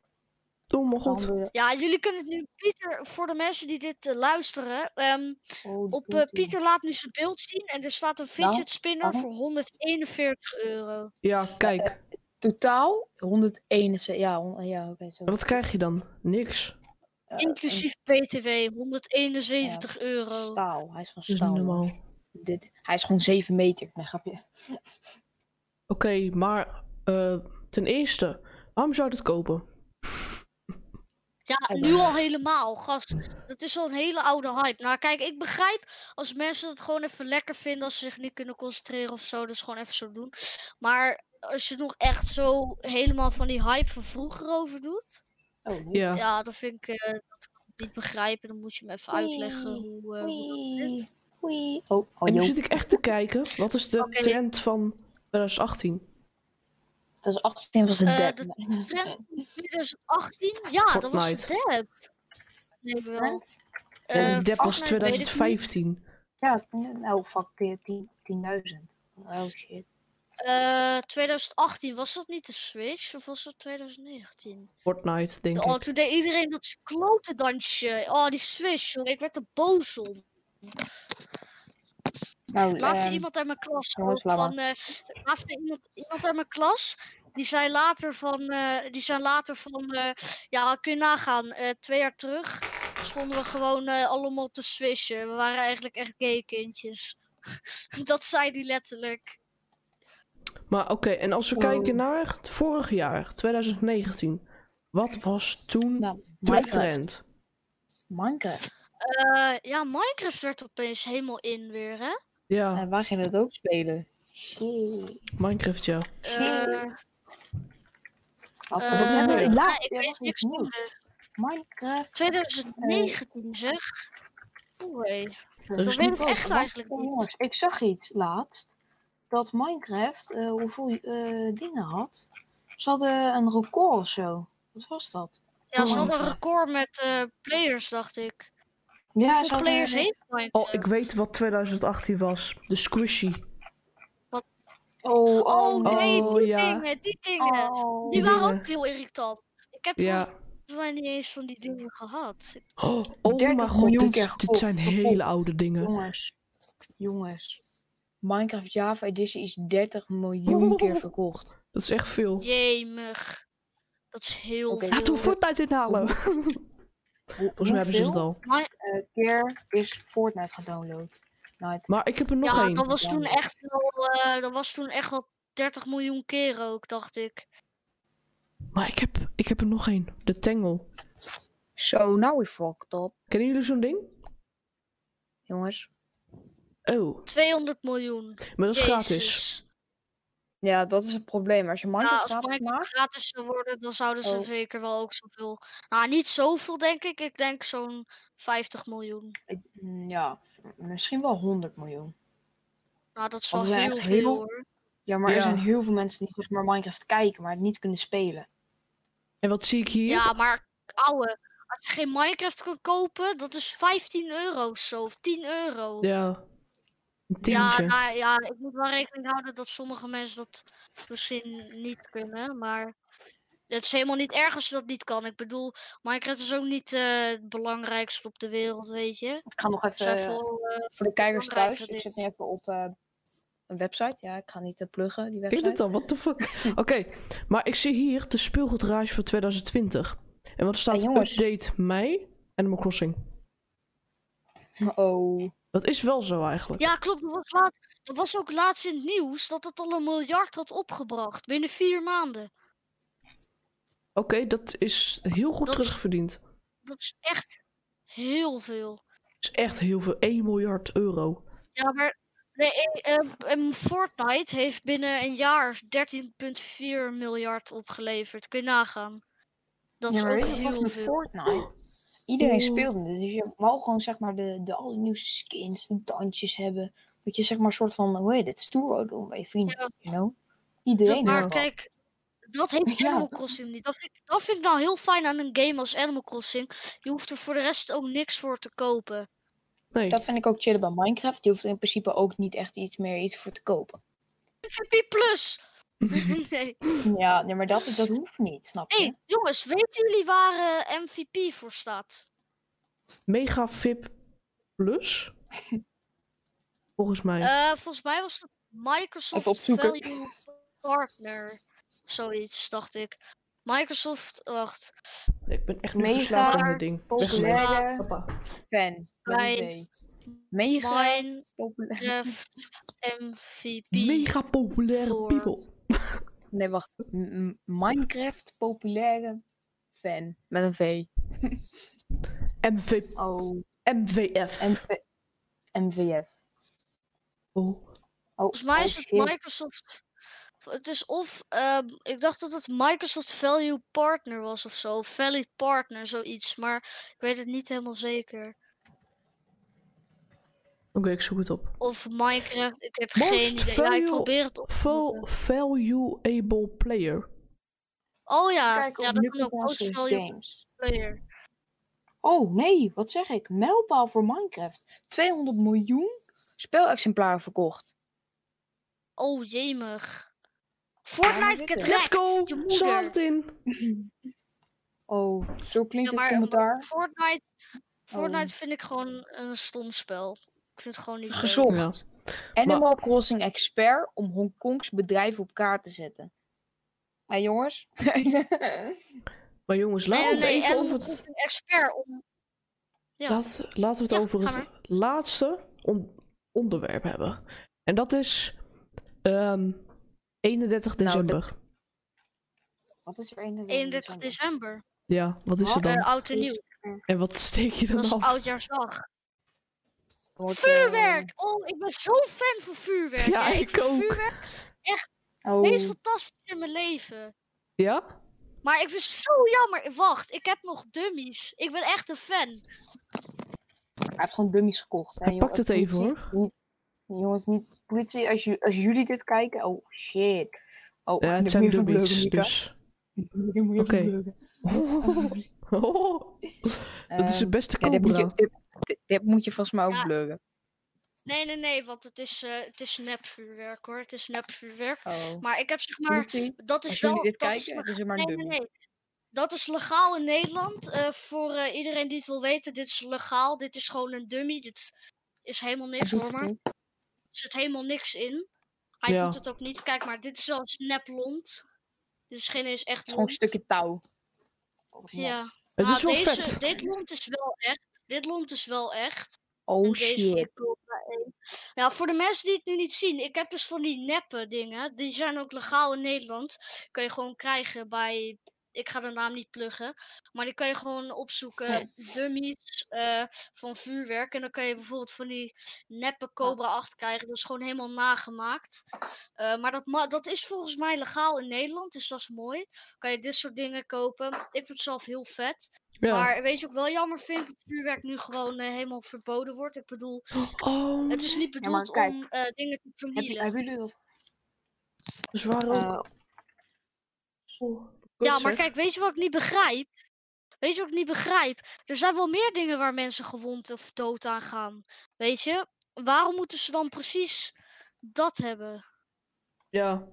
S1: Oh mijn
S4: waarom
S1: god.
S4: doe je dat?
S2: Ja, jullie kunnen het nu, Pieter, voor de mensen die dit eh, luisteren. ehm,
S4: Holy
S2: op eh,
S4: poepie.
S2: Pieter laat nu zijn beeld zien en er staat een
S4: Nou,
S2: fidget spinner
S4: waarom?
S2: voor 141 euro.
S1: Ja,
S2: eh,
S1: kijk.
S4: Totaal 171. Ja, hon- ja oké. zo.
S1: Wat krijg je dan? Niks.
S4: Eh,
S2: Inclusief BTW, 171
S4: een
S2: euro.
S4: Staal. Hij is van
S1: Dat is niet
S4: staal.
S1: normaal.
S4: jongens.
S1: Oké,
S4: Dit, hij is gewoon 7 meter. Nee, grapje.
S1: maar eh, ten eerste, waarom zou je dat kopen?
S2: Ja,
S4: Hij
S2: nu
S1: eh,
S2: al helemaal, gast. Dat is al een hele oude hype. Nou, kijk, ik begrijp als mensen het gewoon even lekker vinden, als ze zich niet kunnen concentreren of zo, dus gewoon even zo doen. Maar als je nog echt zo helemaal van die hype van vroeger over doet,
S4: Oh, nee.
S1: Ja.
S2: ja, dan vind ik eh, dat kan ik niet begrijpen. Dan moet je me even uitleggen
S4: Oei,
S2: hoe, eh, hoe dat
S4: Oei.
S2: zit.
S4: Oei. Oh, oh
S1: en nu
S4: joh.
S1: zit ik echt te kijken, wat is de
S2: Oké.
S1: trend van 2018?
S4: Dat is 18 was een
S2: Eh,
S4: dead.
S2: dat-
S4: Nee.
S2: Trend 2018? Ja, dat was de dab. Nee, wel.
S1: En
S2: Eh,
S1: die dep was
S2: Fortnite weet ik niet.
S1: 2015.
S4: Ja, nou fuck, 10 10.000. Oh shit.
S2: Eh, 2018, was dat niet de Switch of was dat 2019?
S1: Fortnite, denk
S2: Oh,
S1: ik.
S2: toen deed iedereen dat s- klote dansje. Oh, die swish, jongen. Ik werd er boos om.
S4: Nou,
S2: Laatst
S4: ehm,
S2: zei iemand uit mijn klas.
S4: jongens,
S2: ook
S4: laat maar.
S2: van, eh laatst zei iemand, iemand uit mijn klas. Die zei later van. eh, die zei later van eh, ja, kun je nagaan. eh, twee jaar terug stonden we gewoon eh, allemaal te swishen. We waren eigenlijk echt gay kindjes. dat zei die letterlijk.
S1: Maar oké, en als we
S4: Oh.
S1: kijken naar het vorig jaar, 2019. Wat was toen
S4: nou,
S1: de
S4: Minecraft.
S1: trend?
S4: Minecraft.
S2: Eh, ja, Minecraft werd opeens helemaal in weer, hè?
S1: Ja,
S4: En wij gingen het ook spelen.
S1: Minecraft, ja.
S2: Eh,
S4: Wat
S2: eh,
S1: is er
S4: hebben
S1: nou?
S2: ja,
S4: we laatst?
S2: ik
S4: Ja,
S2: weet
S4: was
S2: niks
S4: iets nieuws.
S2: meer.
S4: Minecraft.
S2: 2019 zeg. Oei.
S1: Er
S2: Dat
S1: is
S2: weet
S1: niet
S2: ik
S1: wat.
S2: echt
S4: Wacht,
S2: eigenlijk
S4: oh,
S2: niet.
S4: jongens, ik zag iets laatst. Dat Minecraft eh, hoeveel eh, dingen had. Ze hadden een record of zo. Wat was dat?
S2: Ja, ze
S4: Oh.
S2: hadden een record met eh, players, dacht ik.
S4: Ja, ze
S2: Hoeveel
S4: hadden-
S2: players heeft Minecraft?
S1: Oh, ik weet wat 2018 was. De squishy.
S4: Oh,
S2: Oh,
S4: oh,
S2: nee,
S1: Oh,
S2: die
S1: ja.
S2: dingen, die dingen.
S4: Oh.
S2: Die
S1: Die
S2: waren
S1: dingen.
S2: ook heel irritant. Ik heb volgens
S1: Ja.
S2: mij niet eens van die dingen gehad. Ik-
S1: Oh, oh
S4: 30
S1: mijn god,
S4: miljoen
S1: dit,
S4: keer
S1: dit
S4: gekocht,
S1: zijn
S4: gekocht.
S1: hele oude dingen.
S4: Jongens, jongens. Minecraft Java Edition is 30 miljoen keer verkocht.
S1: Dat is echt veel.
S2: Jemig. Dat is heel
S4: Oké.
S1: Laat hoe
S2: veel.
S1: Fortnite inhalen. Volgens
S4: Hoe-
S1: mij hebben ze het
S4: hoeveel,
S1: al.
S4: eh, keer is Fortnite gedownload? Nou, het-
S1: Maar ik heb er nog
S2: ja,
S1: één.
S2: dat was toen
S4: Ja.
S2: echt wel, eh, dat was toen echt wel 30 miljoen keer ook, dacht ik.
S1: Maar ik heb, ik heb er nog één. De Tangle.
S4: Zo, nou now we fucked up.
S1: Kennen jullie zo'n ding?
S4: Jongens.
S1: Oh,
S2: 200 miljoen.
S1: maar dat is gratis.
S2: Jezus.
S4: Ja, dat is het probleem. Als je
S2: Ja,
S4: Minecraft
S2: Nou, als
S4: gratis
S2: Minecraft
S4: maakt...
S2: gratis zou worden, dan zouden ze
S4: Oh.
S2: zeker wel ook zoveel. Nou, niet zoveel, denk ik. Ik denk zo'n 50 miljoen.
S4: ik- mm, Ja, misschien wel 100 miljoen.
S2: Nou, dat is wel
S4: Want er zijn
S2: heel
S4: echt
S2: veel
S4: heel-
S2: hoor.
S4: Ja, maar er
S1: Ja.
S4: zijn heel veel mensen die zeg maar Minecraft kijken, maar het niet kunnen spelen.
S1: En wat zie ik hier?
S2: Ja, maar ouwe, als je geen Minecraft kan kopen, dat is 15 euro of zo, of 10 euro.
S1: Ja. Een
S2: ja,
S1: tientje.
S2: nou ja, ik moet wel rekening houden dat sommige mensen dat misschien niet kunnen, maar het is helemaal niet erg als je dat niet kan. Ik bedoel, Minecraft is ook niet eh, het belangrijkste op de wereld, weet je.
S4: Ik ga nog
S2: Er zijn
S4: even...
S2: veel, eh,
S4: Voor de kijkers
S2: belangrijke
S4: thuis, ik
S2: dingen.
S4: zit nu even op eh, een website. Ja, ik ga niet eh, pluggen, die
S1: Weet
S4: website.
S1: het dan? What the fuck? Oké, maar ik zie hier de speelgoedrage voor 2020. En wat staat
S4: Hey, jongens.
S1: update mei? Animal Crossing.
S4: Oh.
S1: Dat is wel zo eigenlijk.
S2: Ja, klopt. Er was, laat, er was ook laatst in het nieuws dat het al een miljard had opgebracht binnen vier maanden.
S1: Oké, dat is heel goed
S2: Dat is-
S1: terugverdiend.
S2: Dat is echt heel veel.
S1: Dat is echt heel veel. 1 miljard euro.
S2: Ja, maar nee, eh, eh, em, Fortnite heeft binnen een jaar 13,4 miljard opgeleverd. Kun je nagaan. Dat is
S4: Ja, maar
S2: ook
S4: weet je wat
S2: heel
S4: met
S2: veel. Oh. Mm.
S4: Fortnite. Iedereen
S1: Oeh.
S4: speelde het. Dus je wou gewoon zeg maar de, de allernieuwste skins, de dansjes hebben. Dat je zeg maar een soort van, hoe heet het, stoer doen bij je vrienden,
S2: Ja.
S4: you know?
S2: Dat-
S4: Iedereen
S2: maar
S4: had dat.
S2: kijk, dat heeft
S4: Ja.
S2: Animal Crossing niet. Dat vind, ik- dat vind ik nou heel fijn aan een game als Animal Crossing. Je hoeft er voor de rest ook niks voor te kopen.
S1: Nee.
S4: Dat vind ik ook chill bij Minecraft. Je hoeft in principe ook niet echt iets meer iets voor te kopen.
S2: MVP plus! nee.
S4: Ja, nee, maar dat, dat hoeft niet, snap je?
S2: Hé, jongens, weten jullie waar eh, MVP voor staat?
S1: Mega VIP Plus? Volgens mij.
S2: Eh, volgens mij was het Microsoft
S4: opzoeken.
S2: Value Partner. Zoiets, dacht ik. Microsoft, wacht. Eh,
S1: ik ben echt nu
S4: mega
S1: verslaafd aan dit ding. Weggelegd.
S4: Populaire
S2: dus,
S1: Papa.
S2: eh,
S4: fan. met een
S2: Mijn-
S4: D. Mega populair.
S2: Minecraft MVP.
S1: Mega populaire
S2: Voor-
S1: people.
S4: Nee, wacht. M- m- Minecraft populaire fan. Met een V.
S1: MV,
S4: Oh.
S1: MVF.
S4: MV MVF.
S1: Oh.
S4: Oh,
S2: Volgens mij
S4: oh
S2: is het
S4: shit.
S2: Microsoft. Het is of. ehm, ik dacht dat het Microsoft Value Partner was of zo. of Value Partner, zoiets. Maar ik weet het niet helemaal zeker.
S1: Oké, ik zoek het op.
S2: Of Minecraft. Ik heb
S1: Most
S2: geen idee. Ja, ik
S1: value-
S2: probeer het op. te
S1: Val-
S2: zoeken.
S1: Valuable player.
S2: Oh ja,
S4: Kijk
S2: ja
S4: op
S2: dat kan ook.
S4: Nuclear
S2: Most Value
S4: Games.
S2: Player.
S4: Oh nee, wat zeg ik? Mijlpaal voor Minecraft. 200 miljoen speelexemplaren verkocht.
S2: Oh jemig.
S4: zit
S2: Fortnite
S4: het?
S2: get
S1: Let's
S2: wrecked.
S1: go!
S2: Je
S1: Zaan
S2: moeder.
S1: het in!
S4: Oh, zo klinkt
S2: Ja, maar, eh,
S4: het
S2: maar
S4: commentaar.
S2: Fortnite,
S4: Oh.
S2: Fortnite vind ik gewoon een stom spel. Ik vind het gewoon niet leuk.
S1: Ja.
S4: Gezocht. Animal Crossing expert om Hongkongs bedrijf op kaart te zetten. Maar jongens.
S1: Maar jongens,
S2: Nee,
S1: laten we het
S2: nee,
S1: even
S2: en
S1: over
S2: een
S1: het...
S2: expert om. Ja.
S1: Laat, laten we het
S2: Ja,
S1: over
S2: ga
S1: het laatste on- onderwerp hebben. En dat is ehm 31
S4: Nou, dat-
S1: december.
S4: wat is er 31
S2: 31
S4: december?
S2: december.
S1: Ja, wat is er
S4: Wat?
S1: Oh, dan?
S2: Eh, oud en nieuw.
S1: en wat steek je dan
S2: Dat is
S1: af?
S2: oudjaarsdag.
S4: Wordt, eh,
S2: Vuurwerk! Oh, ik ben zo fan van vuurwerk.
S1: Ja,
S2: hè.
S1: ik
S2: vind
S1: ook.
S2: Vuurwerk
S4: oh,
S2: het meest fantastisch in mijn leven.
S1: Ja?
S2: Maar ik vind het zo jammer. Wacht, ik heb nog dummies. Ik ben echt een fan.
S4: Hij heeft gewoon dummies gekocht. Hè,
S1: Hij pakt het even,
S4: politie, niet- nee, jongens, niet politie. Als, ju- als jullie dit kijken. Oh shit. Oh,
S1: Ja, het
S4: dit
S1: zijn
S4: moet je even
S1: dummies,
S4: blurren, Mika.
S1: dus...
S4: Dit moet je even
S1: Oké.
S4: blurren.
S1: dat is de
S4: Eh,
S1: beste
S4: Oh, ja, dit, moet
S1: cobra.
S4: je, dit, dit- dit moet je volgens mij ook
S2: Ja.
S4: blurren.
S2: Nee, nee, nee, want het is, eh het is nepvuurwerk hoor. Het is nepvuurwerk.
S4: Oh.
S2: Maar ik heb zeg maar.
S4: Politie,
S2: Dat
S4: als
S2: is
S4: jullie
S2: wel.
S4: dit
S2: Dat is
S4: kijken, het is maar een
S2: Nee,
S4: dummy.
S2: nee, nee. Dat is legaal in Nederland. Eh, voor eh, iedereen die het wil weten, dit is legaal. Dit is gewoon een dummy. Dit is helemaal niks
S4: Doet
S2: hoor,
S4: het
S2: maar. Er
S4: niet.
S2: zit helemaal niks in. Hij
S1: Ja.
S2: doet het ook niet. Kijk maar, dit is zelfs nep lont. Dit is geen eens echt
S4: Het is gewoon
S2: lont.
S4: een stukje touw. Volgens mij.
S2: Ja.
S1: Het
S2: Nou,
S1: is wel
S2: deze,
S1: vet.
S2: Dit lont is wel echt. Dit lont is wel echt.
S4: Oh
S2: En deze vond
S4: shit.
S2: ik ook wel eng. Ja, voor de mensen die het nu niet zien, ik heb dus van die neppe dingen. Die zijn ook legaal in Nederland. Kun je gewoon krijgen bij. Ik ga de naam niet pluggen. Maar die kan je gewoon opzoeken. Dummies eh, van vuurwerk. En dan kan je bijvoorbeeld van die neppe Cobra 8 krijgen. Dat is gewoon helemaal nagemaakt. Eh, maar dat, ma- dat is volgens mij legaal in Nederland. Dus dat is mooi. Kan je dit soort dingen kopen. Ik vind het zelf heel vet.
S1: Ja.
S2: Maar weet je ook wel jammer vind dat vuurwerk nu gewoon eh, helemaal verboden wordt. Ik bedoel,
S1: Oh,
S2: het is niet
S4: Ja, maar
S2: bedoeld
S4: kijk,
S2: om eh, dingen te
S4: Heb je-
S2: vernielen.
S4: Hebben jullie dat?
S1: zwaar ook.
S4: eh,
S1: Oh,
S2: ja,
S1: kut,
S2: maar
S1: zeg.
S2: kijk, weet je wat ik niet begrijp? Weet je wat ik niet begrijp? Er zijn wel meer dingen waar mensen gewond of dood aan gaan. Weet je? Waarom moeten ze dan precies dat hebben?
S1: Ja.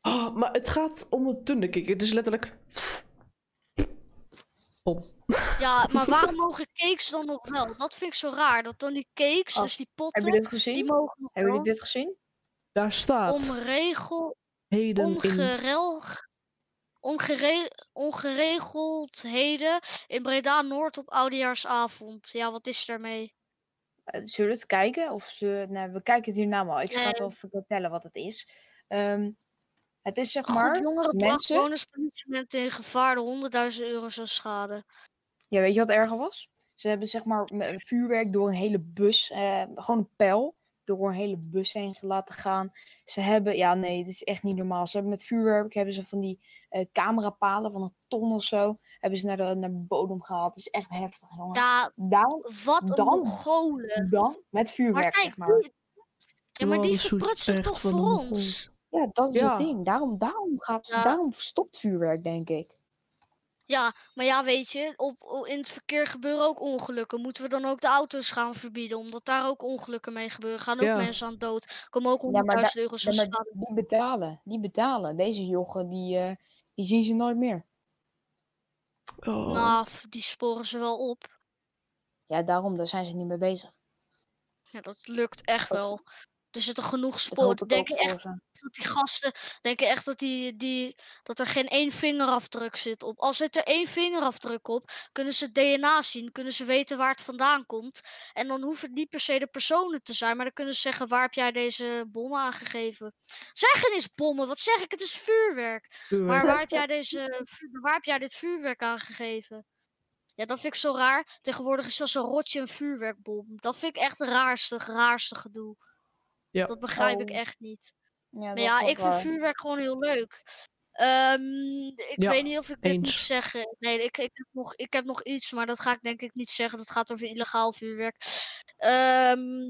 S1: Oh, maar het gaat om het dunderkick. Het is letterlijk... Om.
S2: Ja, maar waarom mogen cakes dan nog wel? Dat vind ik zo raar. Dat dan die cakes,
S4: Oh,
S2: dus die
S4: Hebben
S2: potten,
S4: jullie dit
S2: die
S4: gezien?
S2: mogen nog
S4: Hebben
S2: wel.
S4: jullie dit gezien?
S1: Daar staat
S2: Om regel
S1: heden in...
S2: ongerel, ongere- ongeregeldheden in Breda Noord op oudejaarsavond. Ja, wat is daarmee?
S4: Eh, Zullen we het kijken? Of ze... nee, we kijken het hierna wel. Ik ga het
S2: Nee.
S4: wel vertellen wat het is. Ehm, het is zeg
S2: Maar
S4: maar...
S2: jongeren bracht
S4: mensen-
S2: bewoners politieagenten in gevaar de honderdduizend euro's aan schade.
S4: Ja, weet je wat erger was? Ze hebben zeg maar me- vuurwerk door een hele bus, eh, gewoon een pijl, door een hele bus heen laten gaan. Ze hebben, ja nee, dit is echt niet normaal. Ze hebben met vuurwerk, hebben ze van die eh, camerapalen van een ton of zo, hebben ze naar de, naar de bodem gehaald. Het is echt heftig, jongen.
S2: Ja,
S4: Dan,
S2: wat een
S4: Oh. Dan-
S2: Mongolen.
S4: dan, met vuurwerk,
S2: Maar kijk,
S4: zeg maar.
S2: die- ja, maar
S1: Wow,
S2: die
S1: dat zoet
S2: verprutsen
S1: echt
S2: toch
S1: van
S2: voor
S1: de Mongolen.
S2: ons.
S4: Ja, dat is
S1: Ja.
S4: het ding. Daarom, daarom, gaat,
S2: Ja.
S4: daarom stopt vuurwerk, denk ik.
S2: Ja, maar ja, weet je, op, o- in het verkeer gebeuren ook ongelukken. Moeten we dan ook de auto's gaan verbieden? Omdat daar ook ongelukken mee gebeuren. Gaan ook
S1: Ja.
S2: mensen aan dood. Komen ook
S4: Ja, maar
S2: 100.000
S4: daar-
S2: euro's
S4: Ja,
S2: aan
S4: maar
S2: schade.
S4: die- die betalen, die betalen. Deze jochen, die, eh, die zien ze nooit meer.
S1: Oh.
S2: Nou, f- die sporen ze wel op.
S4: Ja, daarom, daar zijn ze niet mee bezig.
S2: Ja, dat lukt echt
S4: Dat-
S2: wel. Er zitten genoeg
S4: Dat
S2: sporen.
S4: hoop ik ook
S2: Denk je echt
S4: voor ze.
S2: dat die gasten, denken echt dat, die, die, dat er geen één vingerafdruk zit op. Als zit er één vingerafdruk op, kunnen ze het DNA zien, kunnen ze weten waar het vandaan komt. En dan hoeft het niet per se de personen te zijn, maar dan kunnen ze zeggen waar heb jij deze bom aangegeven. Zeggen is bommen, wat zeg ik? Het is vuurwerk. Maar waar heb jij, deze, vu- waar heb jij dit vuurwerk aangegeven? Ja, dat vind ik zo raar. Tegenwoordig is zelfs een rotje een vuurwerkbom. Dat vind ik echt het raarste, raarste gedoe.
S1: Ja.
S2: Dat begrijp ik
S4: Oh.
S2: echt niet.
S4: Ja,
S2: Maar ja, ik vind
S4: vervuur.
S2: vuurwerk gewoon heel leuk. Ehm, ik
S1: Ja,
S2: weet niet of ik dit moet
S1: eens.
S2: zeggen. Nee, ik, ik, heb nog, ik heb nog iets, maar dat ga ik denk ik niet zeggen. Dat gaat over illegaal vuurwerk. Ehm,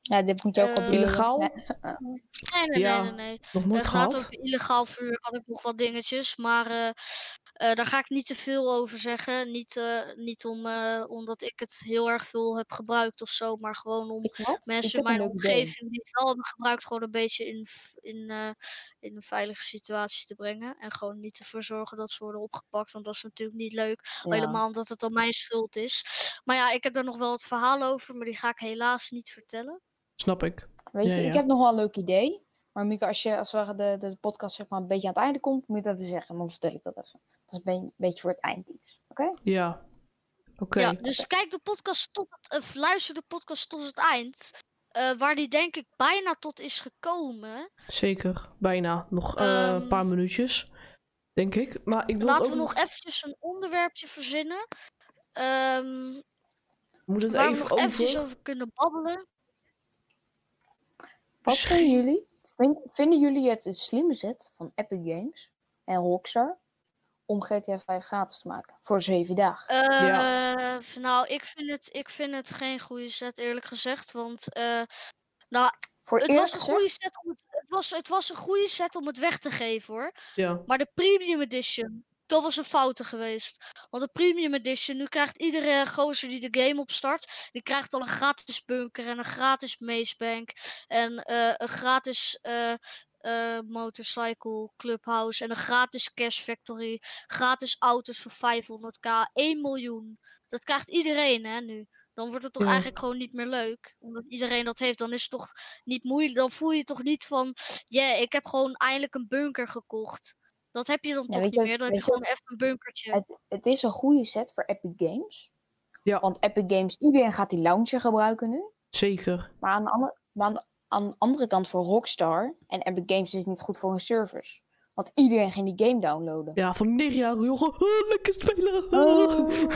S4: Ja, dit moet je ook
S2: Eh,
S4: op je-
S1: Illegaal?
S4: Nee,
S2: nee, nee,
S1: Ja,
S2: nee, nee. nee.
S1: Nog
S2: Eh,
S1: nooit
S2: Het gaat
S1: gehad?
S2: over illegaal vuurwerk. Had ik nog wat dingetjes, maar eh, eh, daar ga ik niet te veel over zeggen. Niet, eh, niet om, eh, omdat ik het heel erg veel heb gebruikt of zo, maar gewoon om
S4: weet je wat? Ik
S2: mensen in
S4: heb een
S2: mijn
S4: leuk idee.
S2: omgeving die het wel hebben gebruikt, gewoon een beetje in, v- in, eh, in een veilige situatie te brengen. En gewoon niet ervoor zorgen dat ze worden opgepakt, want dat is natuurlijk niet leuk. Al
S4: Ja.
S2: Helemaal omdat het dan mijn schuld is. Maar ja, ik heb daar nog wel het verhaal over, maar die ga ik helaas niet vertellen.
S1: Snap ik.
S4: Weet je,
S1: Ja,
S4: ik
S1: ja.
S4: heb nog wel een leuk idee. Maar Mieke, als, je, als we de, de podcast zeg maar een beetje aan het einde komt, moet je dat even zeggen. Dan vertel ik dat even. Dat is een beetje, een beetje voor het eind iets. Oké?
S1: Ja. Oké.
S2: Ja, dus kijk de podcast tot het, of luister de podcast tot het eind. eh, waar die denk ik bijna tot is gekomen.
S1: Zeker. Bijna. Nog eh, een
S2: Ehm,
S1: paar minuutjes. Denk ik. Maar ik wil het
S2: Laten
S1: ook
S2: we nog eventjes een onderwerpje verzinnen. ehm,
S1: Moet het
S2: waar we
S1: even
S2: nog
S1: over...
S2: eventjes over kunnen babbelen.
S4: Wat
S1: Misschien-
S4: vinden jullie? Vind- vinden jullie het een slimme zet van Epic Games en Rockstar om GTA 5 gratis te maken voor zeven dagen?
S1: Ja.
S2: Eh, nou, ik vind, het, ik vind het geen goede set, eerlijk gezegd. Want eh, nou,
S4: Voor
S2: het,
S4: eerlijk
S2: was een
S4: gezegd-
S2: goede set om het, het, was, het was een goede set om het weg te geven hoor.
S1: Ja.
S2: Maar de Premium Edition, dat was een foute geweest. Want de Premium Edition, nu krijgt iedere gozer die de game opstart, die krijgt al een gratis bunker en een gratis macebank en eh, een gratis eh, eh, motorcycle clubhouse en een gratis cash factory, gratis auto's voor 500k, 1 miljoen. Dat krijgt iedereen hè nu. Dan wordt het toch
S1: Ja.
S2: eigenlijk gewoon niet meer leuk. Omdat iedereen dat heeft, dan is het toch niet moeilijk. Dan voel je toch niet van, yeah, ik heb gewoon eindelijk een bunker gekocht. Dat heb je dan
S4: Ja,
S2: toch
S4: weet
S2: niet
S4: je-
S2: meer. Dan heb je
S4: weet je-
S2: gewoon even een bunkertje.
S4: Het is een goede set voor Epic Games.
S1: Ja.
S4: Want Epic Games, iedereen gaat die launcher gebruiken nu.
S1: Zeker.
S4: Maar aan de, ander- maar aan de, aan de andere kant voor Rockstar en Epic Games is het niet goed voor hun servers. Want iedereen ging die game downloaden.
S1: Ja, van 9-jarige jongen. Oh, lekker spelen.
S2: Oh.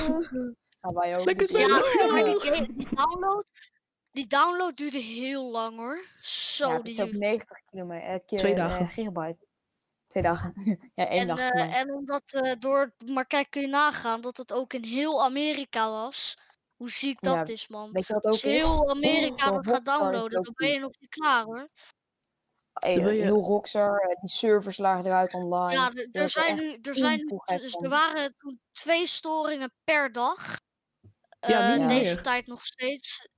S4: Nou, wij ook.
S1: Lekker
S4: dus
S2: Ja,
S1: spelen.
S4: ja.
S2: maar die, game- die download, die download duurde heel lang hoor. Zo,
S4: Ja, dat
S2: die
S4: is ook
S2: duurde.
S4: 90 kilometer, eh, keer,
S1: Twee
S4: eh,
S1: dagen.
S4: gigabyte. Twee dagen. ja, één
S2: En,
S4: dag. voor
S2: eh,
S4: mij.
S2: en omdat eh, door, maar kijk, kun je nagaan dat het ook in heel Amerika was. Hoe ziek
S4: Ja,
S2: dat is, man.
S4: Weet je wat ook
S2: Als
S4: is?
S2: heel Amerika
S4: zo'n
S2: dat
S4: hotbar
S2: gaat
S4: is het
S2: downloaden,
S4: ook
S2: dan ben je nog niet klaar hoor.
S4: Eh,
S1: Dan wil je-
S4: Heel Rockstar, eh, die servers lagen eruit online.
S2: Ja, d- er
S4: dat er
S2: zijn
S4: echt
S2: nu, er zijn nu,
S4: onvoegheid
S2: dus
S4: van
S2: er
S4: is.
S2: waren toen twee storingen per dag.
S1: Ja,
S2: Eh,
S1: nu
S4: niet
S2: Deze
S1: meer.
S2: tijd nog steeds.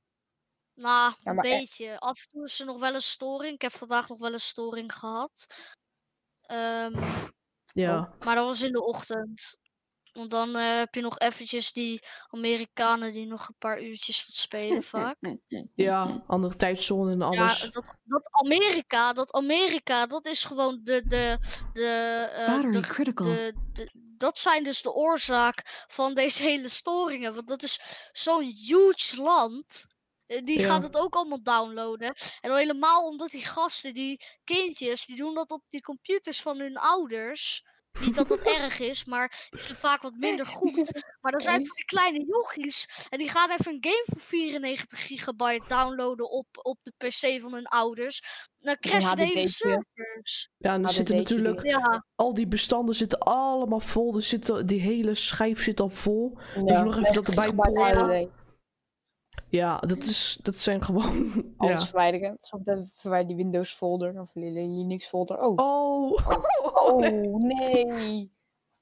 S2: Nou, een
S4: maar e-
S2: beetje. Af en toe is er nog wel een storing. Ik heb vandaag nog wel een storing gehad. Ehm,
S1: Ja.
S2: maar dat was in de ochtend. Want dan eh, heb je nog eventjes die Amerikanen die nog een paar uurtjes dat spelen vaak.
S4: Mm,
S1: Ja. Andere tijdzone en
S2: Ja,
S1: alles.
S2: dat, dat Amerika, dat Amerika, dat is gewoon de, de, de, eh, de
S5: Battery critical.
S2: de, de- dat zijn dus de oorzaak van deze hele storingen. Want dat is zo'n huge land. Eh, Die
S1: Ja.
S2: gaat het ook allemaal downloaden. En al helemaal omdat die gasten, die kindjes, die doen dat op die computers van hun ouders. Niet dat dat erg is, maar is er vaak wat minder goed. Maar dan zijn
S4: Oké.
S2: van die kleine jochies. En die gaan even een game van 94 gigabyte downloaden op, op de PC van hun ouders. Dan crashen de hele
S4: HDD'tje.
S2: servers.
S1: Ja, en er
S4: dat
S1: zitten
S4: weet je
S1: natuurlijk...
S4: niet.
S2: Ja.
S1: Al die bestanden zitten allemaal vol. Er zitten, die hele schijf zit al vol.
S4: Ja,
S1: nog even dat
S4: 90
S1: erbij
S4: gigabyte
S1: plakken.
S4: HDD.
S1: Ja, dat, is, dat zijn gewoon...
S4: Alles
S1: Ja.
S4: verwijderen. Zo meteen verwijder die Windows folder of die Linux folder. Oh,
S1: Oh.
S4: oh nee.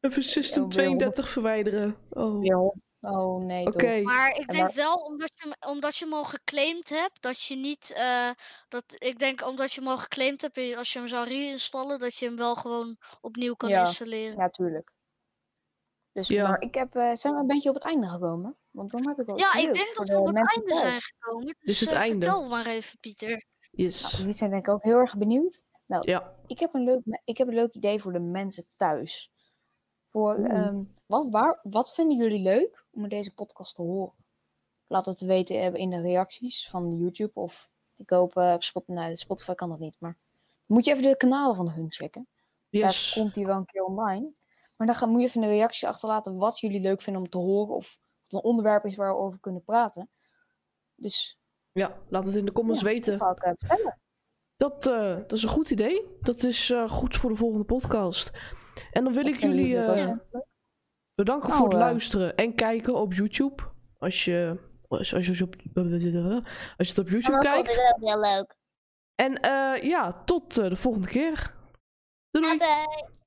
S1: Even system
S4: Oh, weer
S1: 32 verwijderen. Oh,
S4: Weer hond- Oh nee,
S1: oké.
S4: toch.
S2: Maar ik
S4: En
S2: denk
S4: daar-
S2: wel, omdat je, hem- omdat je hem al geclaimd hebt, dat je niet. eh, dat, ik denk omdat je hem al geclaimd hebt, en als je hem zou reinstallen, dat je hem wel gewoon opnieuw kan
S4: Ja.
S2: installeren.
S4: Ja, tuurlijk. Dus
S1: Ja.
S4: maar ik heb, eh, zijn we een beetje op het einde gekomen? Want dan heb ik al
S2: Ja,
S4: iets
S2: ik
S4: leuks
S2: denk
S4: voor
S2: dat we
S4: de
S2: op het
S4: mensen
S2: einde
S4: thuis.
S2: zijn gekomen. Dus,
S1: het
S2: eh,
S1: einde.
S2: vertel maar even, Pieter.
S1: Yes.
S4: Jullie zijn denk ik ook heel erg benieuwd. Nou,
S1: Ja.
S4: ik, heb een leuk, me- ik heb een leuk idee voor de mensen thuis. Voor,
S1: Oeh.
S4: ehm, wat, waar, wat vinden jullie leuk om in deze podcast te horen? Laat het weten eh, in de reacties van YouTube of ik hoop eh, op Spotify. Nou, Spotify kan dat niet, maar moet je even de kanalen van hun checken.
S1: Yes.
S4: Daar komt die wel een keer online. Maar dan ga, moet je even een reactie achterlaten wat jullie leuk vinden om te horen. Of wat een onderwerp is waar we over kunnen praten. Dus
S1: Ja, laat het in de comments
S4: Ja, dat
S1: weten.
S4: ga ik eh, vertellen.
S1: Dat, eh, dat is een goed idee. Dat is eh, goed voor de volgende podcast. En dan wil
S4: Wat
S1: ik
S4: vinden
S1: jullie
S4: jullie ervan?
S1: eh, bedanken
S4: dus Nou,
S1: voor het
S4: eh,
S1: luisteren en kijken op YouTube. Als je, als, als, je, dus op, als je het op YouTube
S3: Maar vond
S1: kijkt.
S3: het ook heel leuk.
S1: En eh, ja, tot eh, de volgende keer. Doei! doei.
S3: Bye bye.